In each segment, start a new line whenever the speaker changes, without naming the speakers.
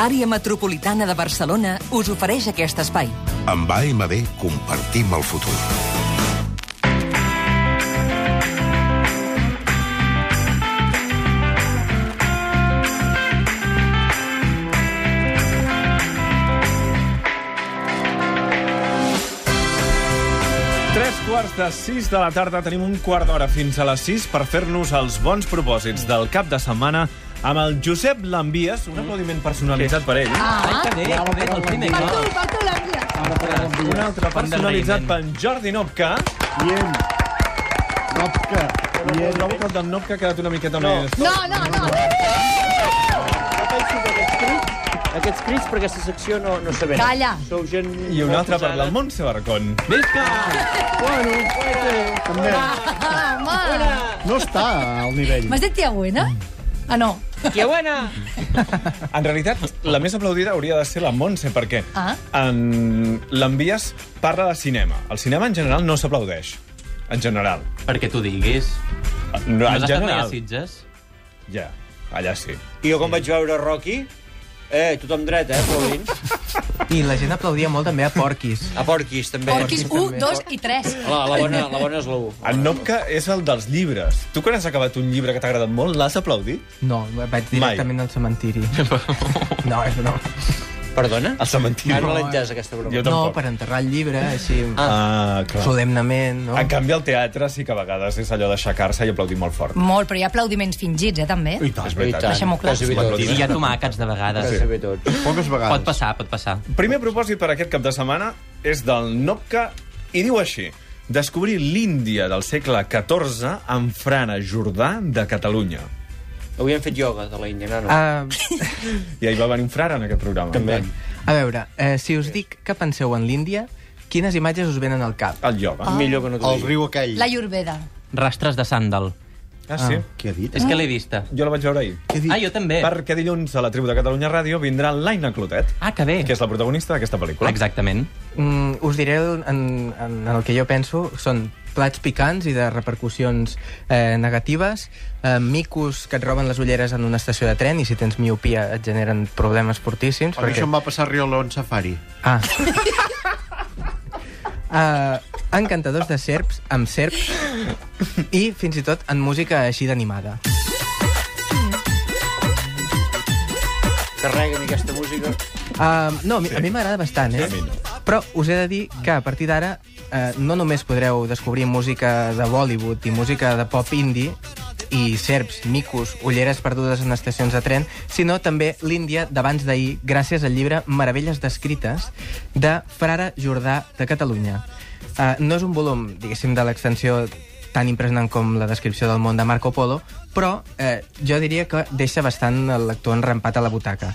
Àrea Metropolitana de Barcelona us ofereix aquest espai.
Amb AMB compartim el futur.
Tres quarts de sis de la tarda tenim un quart d'hora fins a les sis per fer-nos els bons propòsits del cap de setmana amb el Josep Lambies, un aplaudiment personalitzat per ell,
Ah, que bé, que bé, el primer,
Per
no?
tu, per tu, l'envia.
un altre personalitzat
d'agraïment.
pel Jordi Nopka,
Bien. Nopka.
i el trobo que el del Nopka ha quedat una miqueta més...
No,
Ah,
no, no.
Aquests crits per aquesta secció no, no sabem.
Calla.
Sou gent...
I un
molt
altre per
posada.
la Montse Barcon.
Visca!
També.
Ah, home.
No està al nivell.
M'has dit tia buena? Ah, no.
Tia buena!
En realitat, la més aplaudida hauria de ser la Montse, perquè
Ah.
en l'envies parla de cinema. El cinema en general no s'aplaudeix. En general.
Perquè tu diguis.
No,
No has
en
estat mai a
general.
Sitges?
Ja, allà sí.
I jo quan vaig veure Rocky, eh, tothom dret, eh, aplaudint.
I la gent aplaudia molt també a Porquis.
A Porquis, també.
Porquis 1, 2 i 3.
La, la, bona, la bona és la 1.
En Nopka és el dels llibres. Tu quan has acabat un llibre que t'ha agradat molt, l'has aplaudit?
No, vaig directament al cementiri. No, és no.
Perdona?
Al cementiri.
Ah, no l'he entès, aquesta broma.
Jo
No,
tampoc.
per enterrar el llibre, així,
Ah, clar.
solemnament, no?
En canvi, al teatre sí que a vegades és allò d'aixecar-se i aplaudir molt fort.
Molt, però hi ha aplaudiments fingits, eh, també.
I tant. Doncs, És veritat.
Deixem-ho clar.
Quasi bé
Sí.
I
tots.
hi ha tomàquets, de vegades.
Quasi bé tots.
Poques
Pot
vegades.
passar, pot passar.
Primer propòsit per aquest cap de setmana és del Nopka i diu així. Descobrir l'Índia del segle XIV amb Frana Jordà de Catalunya.
Avui hem fet ioga de l'Índia, no, no.
Ah,
I ahir va venir un frare en aquest programa. També.
a veure, eh, si us dic que penseu en l'Índia, quines imatges us venen al cap?
El ioga.
Millor que no t'ho
El
digui.
riu aquell.
La Llorveda.
Rastres de sàndal.
Ah, sí?
Què ha dit?
És que l'he vista.
Jo la vaig veure ahir.
Què ha dit?
Ah, jo també.
Perquè dilluns a la tribu de Catalunya Ràdio vindrà l'Aina Clotet,
Ah, que bé.
que és la protagonista d'aquesta pel·lícula.
Exactament.
Mm, us diré en, en, en el que jo penso, són plats picants i de repercussions eh, negatives, eh, micos que et roben les ulleres en una estació de tren i si tens miopia et generen problemes fortíssims.
A mi això em va passar a Riolo en Safari.
Ah. Uh, encantadors de serps, amb serps, i fins i tot en música així d'animada.
Carrega'm aquesta música.
Uh, no, a mi, a mi m'agrada bastant, eh?
a mi no.
Però us he de dir que a partir d'ara uh, no només podreu descobrir música de Bollywood i música de pop indie, i serps, micos, ulleres perdudes en estacions de tren, sinó també l'Índia d'abans d'ahir, gràcies al llibre Meravelles descrites de Frare Jordà de Catalunya. Uh, no és un volum, diguéssim, de l'extensió tan impressionant com la descripció del món de Marco Polo, però eh, jo diria que deixa bastant el lector enrampat a la butaca.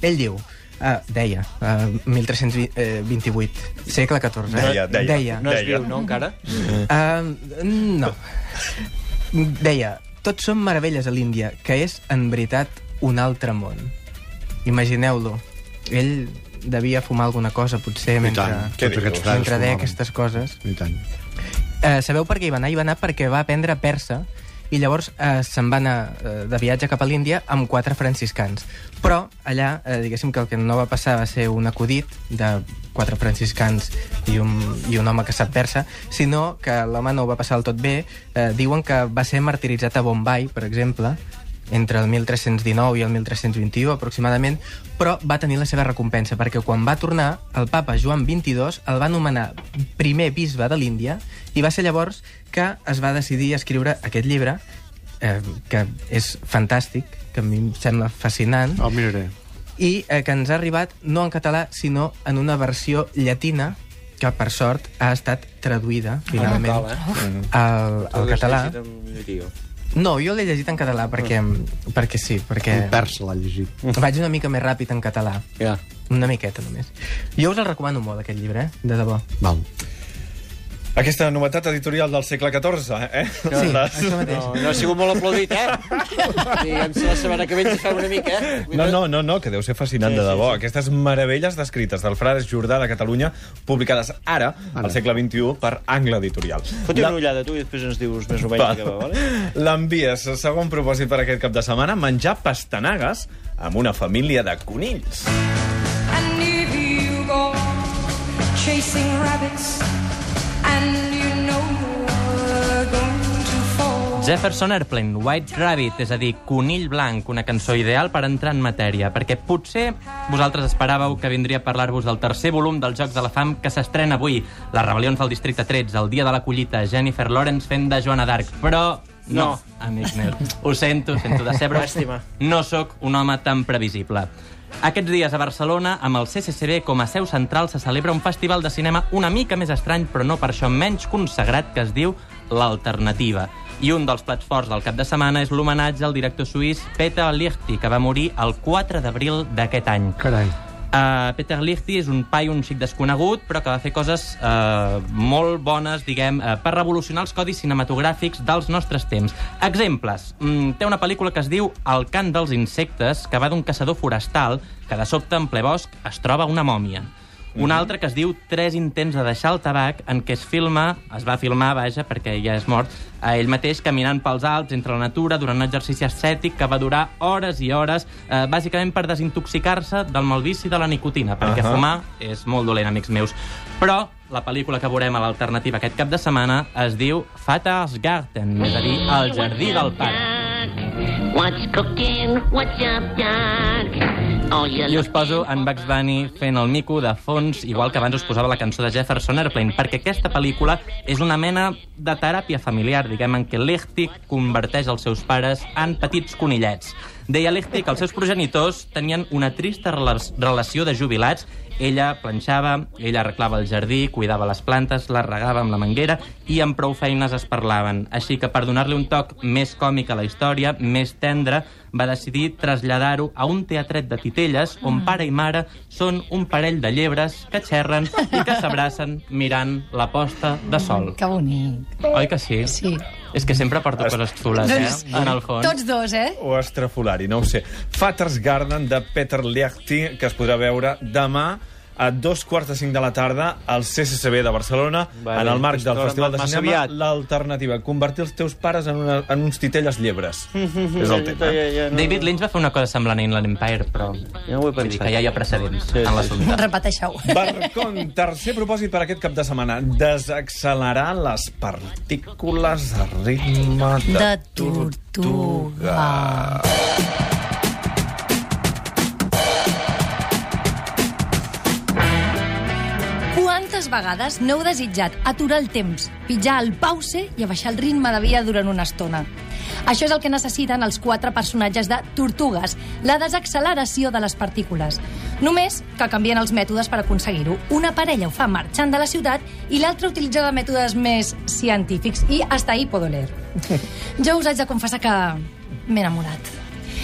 Ell diu, eh, deia, eh, 1328, eh, segle XIV, eh?
Deia, deia.
deia
No es
Deia.
viu, no, encara?
Uh, no. Deia, tots són meravelles a l'Índia, que és, en veritat, un altre món. Imagineu-lo. Ell devia fumar alguna cosa, potser,
I
mentre,
tant.
Què
Tots
dius?
aquests frares
mentre deia
fumaven.
aquestes coses.
I tant.
Eh, sabeu per què hi va anar? Hi va anar perquè va aprendre persa i llavors eh, se'n va anar eh, de viatge cap a l'Índia amb quatre franciscans. Però allà, eh, diguéssim que el que no va passar va ser un acudit de quatre franciscans i un, i un home que sap persa, sinó que l'home no ho va passar del tot bé. Eh, diuen que va ser martiritzat a Bombay, per exemple, entre el 1319 i el 1321 aproximadament, però va tenir la seva recompensa, perquè quan va tornar, el papa Joan XXII el va nomenar primer bisbe de l'Índia i va ser llavors que es va decidir escriure aquest llibre, eh, que és fantàstic, que a mi em sembla fascinant,
El miraré.
i eh, que ens ha arribat no en català, sinó en una versió llatina, que per sort ha estat traduïda finalment
Ah, cal, eh?
al, al català.
Tot és llegit en llatí.
No, jo l'he llegit en català perquè, perquè sí, perquè...
El persa l'ha llegit.
Vaig una mica més ràpid en català.
Ja.
Una miqueta, només. Jo us el recomano molt, aquest llibre, eh? De debò.
Val.
Aquesta novetat editorial del segle XIV, eh?
Sí,
Les-
això mateix.
No, no ha sigut molt aplaudit, eh? Diguem si la setmana que ve ens hi fem una mica, eh?
No, no, no, no, que deu ser fascinant sí, de debò. Sí, sí. Aquestes meravelles descrites del frare Jordà de Catalunya, publicades ara, ara, al segle XXI, per Angle Editorial.
Fot-hi una ullada, tu, i després ens dius més o menys
Va.
que va, vale?
L'envies. Segon propòsit per aquest cap de setmana, menjar pastanagues amb una família de conills.
And if you go chasing rabbits, and you know you're going to fall.
Jefferson Airplane, White Rabbit, és a dir, Conill Blanc, una cançó ideal per entrar en matèria, perquè potser vosaltres esperàveu que vindria a parlar-vos del tercer volum dels Jocs de la Fam que s'estrena avui, Les rebel·lions del Districte 13, el dia de la collita, Jennifer Lawrence fent de Joana d'Arc, però... No, amics meus. Ho sento, sento decebre. Llàstima. No sóc un home tan previsible. Aquests dies a Barcelona, amb el CCCB com a seu central, se celebra un festival de cinema una mica més estrany, però no per això menys consagrat, que es diu L'Alternativa. I un dels plats forts del cap de setmana és l'homenatge al director suís Peter Liechti, que va morir el 4 d'abril d'aquest any.
Carai.
Uh, Peter Lichty és un paio un xic desconegut, però que va fer coses uh, molt bones, diguem, uh, per revolucionar els codis cinematogràfics dels nostres temps. Exemples. Mm, té una pel·lícula que es diu El cant dels insectes, que va d'un caçador forestal que de sobte en ple bosc es troba una mòmia. Una altra que es diu Tres intents de deixar el tabac, en què es filma, es va filmar, vaja, perquè ja és mort, a ell mateix caminant pels alts, entre la natura, durant un exercici estètic que va durar hores i hores, eh, bàsicament per desintoxicar-se del malvici de la nicotina, perquè uh -huh. fumar és molt dolent, amics meus. Però la pel·lícula que veurem a l'alternativa aquest cap de setmana es diu Fatah's Garten, és a dir, El jardí del pare.
What's cooking? What's up, Doc? Oh, you
I us poso en Bugs Bunny fent el mico de fons, igual que abans us posava la cançó de Jefferson Airplane, perquè aquesta pel·lícula és una mena de teràpia familiar, diguem, en què Lechtig converteix els seus pares en petits conillets. Deia Lechtig que els seus progenitors tenien una trista rela relació de jubilats ella planxava, ella arreglava el jardí, cuidava les plantes, les regava amb la manguera i amb prou feines es parlaven. Així que per donar-li un toc més còmic a la història, més tendre, va decidir traslladar-ho a un teatret de titelles
Mm.
on pare i mare són un parell de llebres que xerren i que s'abracen mirant la posta de sol.
Que bonic.
Oi que sí?
Sí. Doncs
És que sempre porto coses xules, eh? En el fons.
Tots dos, eh?
o estrafolari, no ho sé. Father's Garden, de Peter Liechti, que es podrà veure demà a dos quarts de cinc de la tarda al CCCB de Barcelona,
Vale,
vale, en el marc del
doncs
Festival de
massa
Cinema,
aviat.
l'alternativa, convertir els teus pares en, una, en uns titelles llebres. És el tema.
Ja, ja, no,
David Lynch va fer una cosa semblant a Inland Empire, però...
ja ho he
Vull dir
pensat.
que ja hi ha precedents
Sí,
en
sí.
l'assumpte.
Repeteixeu.
Barcon, tercer propòsit per aquest cap de setmana. Desaccelerar les partícules a ritme de,
De tortuga. Quantes vegades no heu desitjat aturar el temps, pitjar el pause i abaixar el ritme de vida durant una estona? Això és el que necessiten els quatre personatges de Tortugues, la desacceleració de les partícules. Només que canvien els mètodes per aconseguir-ho. Una parella ho fa marxant de la ciutat i l'altra utilitzava mètodes més científics i hasta ahí puedo leer. Jo us haig de confessar que m'he enamorat.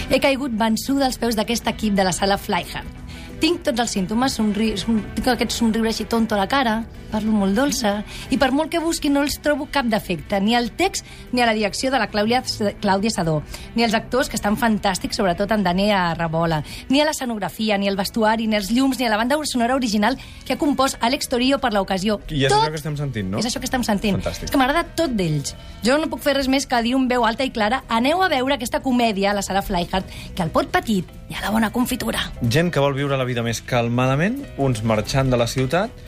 He caigut vençuda als peus d'aquest equip de la sala Flyhard. Tinc tots els símptomes, somri... som... tinc aquest somriure així tonto a la cara, parlo molt dolça, i per molt que busqui no els trobo cap defecte, ni al text ni a la direcció de la Clàudia, Clàudia Sadó, ni als actors que estan fantàstics, sobretot en Dani Rabola, ni a l'escenografia, ni al vestuari, ni als llums, ni a la banda sonora original que ha compost Àlex Torillo per l'ocasió.
I és
Tot
això que estem sentint, no?
és això que estem sentint.
Fantàstic.
És que m'agrada tot d'ells. Jo no puc fer res més que dir un veu alta i clara aneu a veure aquesta comèdia a la sala Flyhard, que el pot petit i a la bona confitura.
Gent que vol viure la vida més calmadament, uns marxant de la ciutat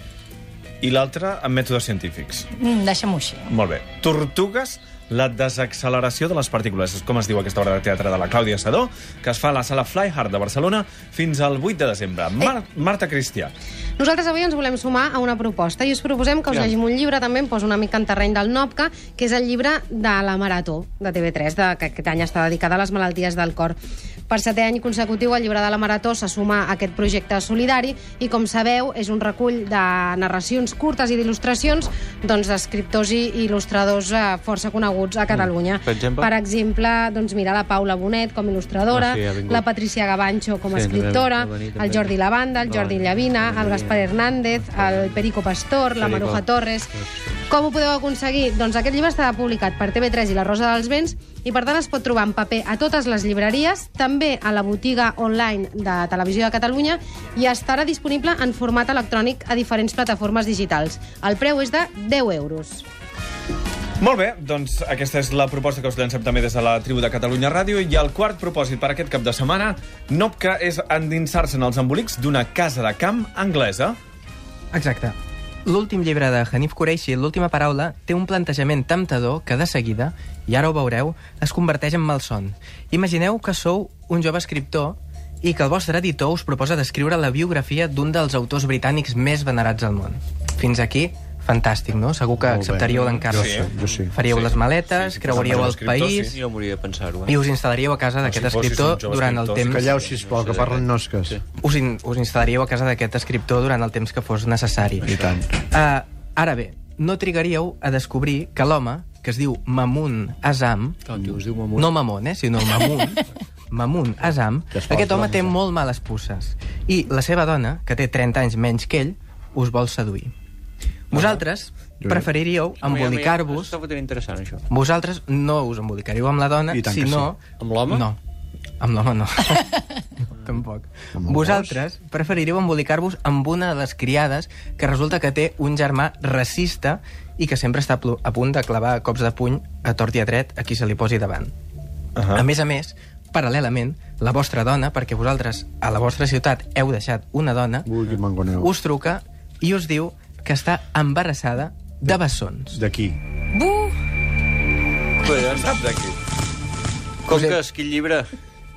i l'altre amb mètodes científics.
Mm, Deixa'm-ho així.
Molt bé. Tortugues, la desacceleració de les partícules. És com es diu aquesta obra de teatre de la Clàudia Sadó, que es fa a la sala Flyhard de Barcelona fins al 8 de desembre. Mar Marta Cristià.
Nosaltres avui ens volem sumar a una proposta i us proposem que us llegim un llibre també, em poso una mica en terreny del Nopca, que és el llibre de la Marató de TV3, de, que aquest any està dedicada a les malalties del cor. Per setè any consecutiu, el llibre de la Marató se suma a aquest projecte solidari i, com sabeu, és un recull de narracions curtes i d'il·lustracions doncs, d'escriptors i il·lustradors eh, força coneguts a Catalunya.
Mm. Per exemple?
per exemple doncs, mira la Paula Bonet com il·lustradora,
Ah, sí, ha vingut.
la Patricia Gabancho com a
Sí,
escriptora,
també va venir, també.
el Jordi Lavanda, el
Va
Jordi
venir,
Llavina,
també
el
venia.
Gaspar Hernández, el Perico Pastor, la
Perico.
Maruja Torres... Com ho podeu aconseguir? Doncs aquest llibre està publicat per TV3 i la Rosa dels Vents i per tant es pot trobar en paper a totes les llibreries, també a la botiga online de Televisió de Catalunya i estarà disponible en format electrònic a diferents plataformes digitals. El preu és de 10 euros.
Molt bé, doncs aquesta és la proposta que us llancem també des de la tribu de Catalunya Ràdio i el quart propòsit per aquest cap de setmana Nopca és endinsar-se en els embolics d'una casa de camp anglesa.
Exacte. L'últim llibre de Hanif Kureishi, L'última paraula, té un plantejament temptador que de seguida, i ara ho veureu, es converteix en malson. Imagineu que sou un jove escriptor i que el vostre editor us proposa d'escriure la biografia d'un dels autors britànics més venerats al món. Fins aquí, fantàstic, no? Segur que
Molt bé.
acceptaríeu l'encàrrec.
Jo sí, jo sí.
Faríeu
Sí.
les maletes,
Sí, sí,
creuaríeu
sí,
el
escriptor,
país...
sí.
Jo moriria de pensar-ho, eh?
I us instal·laríeu a casa d'aquest
fossis un
escriptor
jove
durant el
escriptor,
temps...
Calleu, sisplau, que parlen nosques.
Us, in, us instal·laríeu a casa d'aquest escriptor durant el temps que fos necessari.
I tant.
Uh, ara bé, no trigaríeu a descobrir que l'home, que es diu Mamun Azam... diu Mamun. No Mamun, eh, sinó Mamun. Mamun Azam,
Després,
aquest home té
doncs.
molt males puces. I la seva dona, que té 30 anys menys que ell, us vol seduir. Vosaltres preferiríeu embolicar-vos
Està fotent interessant, això.
vosaltres no us embolicaríeu amb la dona,
I tant que
sinó...
sí. Amb l'home?
No. Amb l'home no. no tampoc. Vosaltres preferiríeu embolicar-vos amb una de les criades que resulta que té un germà racista i que sempre està plo- a punt de clavar cops de puny a tort i a dret a qui se li posi davant. Uh -huh. A més a més, paral·lelament, la vostra dona, perquè vosaltres a la vostra ciutat heu deixat una dona,
Ui, que mangoneu.
us truca i us diu que està embarassada de bessons.
D'aquí.
Buh!
Bé, ja en sap d'aquí. Com que és quin llibre?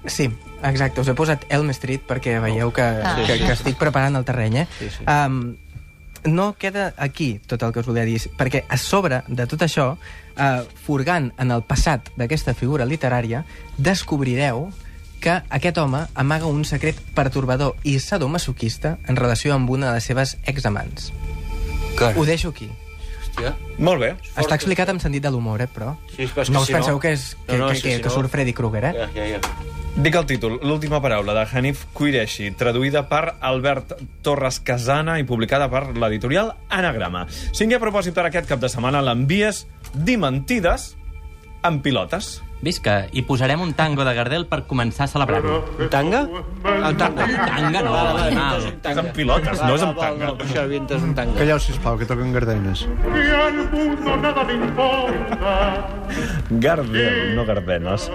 Sí, exacte. Us he posat Elm Street perquè veieu que,
Ah.
ah.
Sí,
que,
sí,
que
sí.
estic preparant el terreny, eh?
Sí, sí.
Um, no queda aquí tot el que us volia dir, perquè a sobre de tot això, uh, furgant en el passat d'aquesta figura literària, descobrireu que aquest home amaga un secret pertorbador i sadomasoquista en relació amb una de les seves examants.
Carai.
Ho deixo aquí.
Hòstia.
Molt bé.
Està explicat amb sentit de l'humor, eh, però...
Sí, però és que
no us
si no-
penseu que, és, que,
No, no,
que,
sí,
que,
si
que
no-
surt Freddy Krueger, eh?
Ja, ja, ja.
Dic el títol, l'última paraula, de Hanif Kuireshi, traduïda per Albert Torres Casana i publicada per l'editorial Anagrama. Cinquè propòsit per aquest cap de setmana, l'envies dir mentides amb pilotes.
Visca, i posarem un tango de Gardel per començar a celebrar-ho.
Un tanga? Ah, un tanga.
Un tanga, no,
Val, val,
animal.
és un tanga.
És amb pilotes, no és amb
Val, val,
tanga.
val, per això havia entès un tanga.
Calleu, sisplau, que toquen gardenes.
Y al mundo nada le importa.
Gardel, no Gardenes.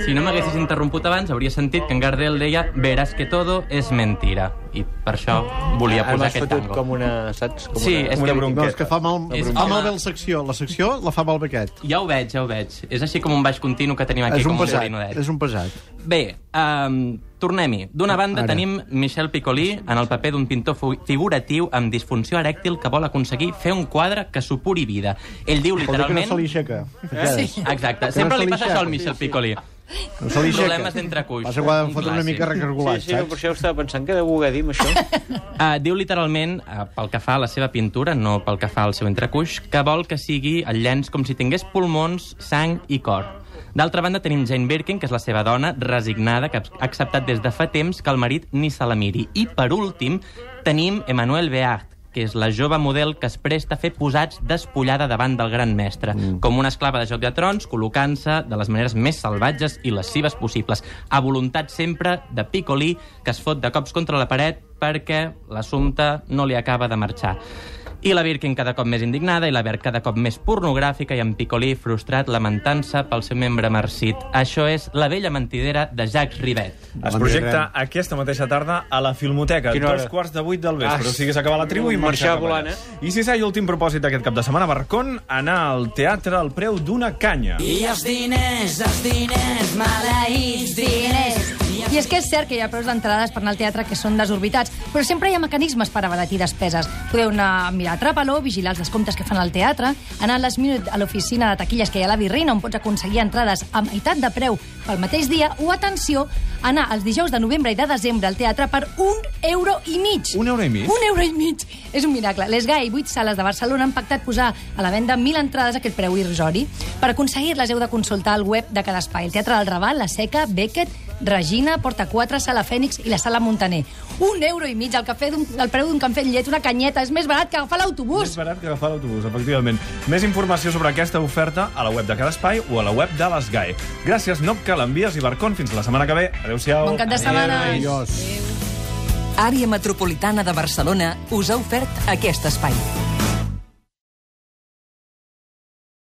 Si no m'haguessis interromput abans, hauria sentit que en Gardel deia verás que todo es mentira. I per això volia
Ara
posar
m'has
aquest
fotut
tango.
com una, saps? Com
Sí,
una...
és que-
No, és que fa mal...
És-
Fa
home.
mal bé la secció. La secció la fa mal bé aquest.
Ja ho veig, ja ho veig. És així com un baix continu que tenim aquí,
És un
com
pesat,
un ganivet.
és un pesat.
Bé, um, tornem-hi. D'una banda
Ara.
Ara. tenim Michel Piccoli en el paper d'un pintor fu- figuratiu amb disfunció erèctil que vol aconseguir fer un quadre que supuri vida. Ell diu
Vol dir que no
literalment...
se li aixeca.
Eh? Sí. Exacte.
Que
Sempre
no se
li
li
passa això al
aixeca.
Michel Piccoli.
No se li aixeca.
Problemes d'entre cuix.
Passa que ho ha de
Un
fotre una
clàssic.
mica recargolat,
Sí, sí, no, per
saps?
això estava pensant que deu voler dir amb això.
Uh, diu literalment, uh, pel que fa a la seva pintura, no pel que fa al seu entrecuix, que vol que sigui el llenç com si tingués pulmons, sang i cor. D'altra banda, tenim Jane Birkin, que és la seva dona, resignada, que ha acceptat des de fa temps que el marit ni se la miri. I, per últim, tenim Emmanuel Beart, que és la jove model que es presta a fer posats despullada davant del gran mestre, mm. com una esclava de Joc de Trons, col·locant-se de les maneres més salvatges i lascives possibles, a voluntat sempre de Piccoli, que es fot de cops contra la paret perquè l'assumpte no li acaba de marxar. I la Birkin cada cop més indignada i la Bert cada cop més pornogràfica i en Piccoli frustrat lamentant-se pel seu membre marcit. Això és La vella mentidera de Jacques Rivet.
Es projecta aquesta mateixa tarda a la Filmoteca,
Quina hora?
dos quarts de vuit del vespre.
Ah,
o sigui, s'acaba la tribu i marxar,
marxar
cap allà.
volant,
I sisè i últim propòsit d'aquest cap de setmana, Barcon, anar al teatre al preu d'una canya.
I els diners, els diners, maleïts diners.
I és que és cert que hi ha preus d'entrades per anar al teatre que són desorbitats, però sempre hi ha mecanismes per abaratir despeses. Podeu anar a mirar Trapaló, vigilar els descomptes que fan al teatre, anar a les Minute a l'oficina de taquilles que hi ha a la Virreina, on pots aconseguir entrades a meitat de preu pel mateix dia, o, atenció, anar els dijous de novembre i de desembre al teatre per un euro i mig.
Un euro i mig?
Un euro i mig. És un miracle. Les GAE i 8 sales de Barcelona han pactat posar a la venda 1.000 entrades a aquest preu irrisori. Per aconseguir-les heu de consultar el web de cada espai. El Teatre del Raval, La Seca, Beckett, Regina, Porta 4, Sala Fènix i la Sala Montaner. Un euro i mig al, cafè d'un- al preu d'un cafè amb llet, una canyeta. És més barat que agafar l'autobús.
Més barat que agafar l'autobús, efectivament. Més informació sobre aquesta oferta a la web de cada espai o a la web de les GAE. Gràcies, Nopca, l'envies i Barcon. Fins la setmana que ve. Adéu-siau.
Bon cap de setmana.
Àrea Metropolitana de Barcelona us ha ofert aquest espai.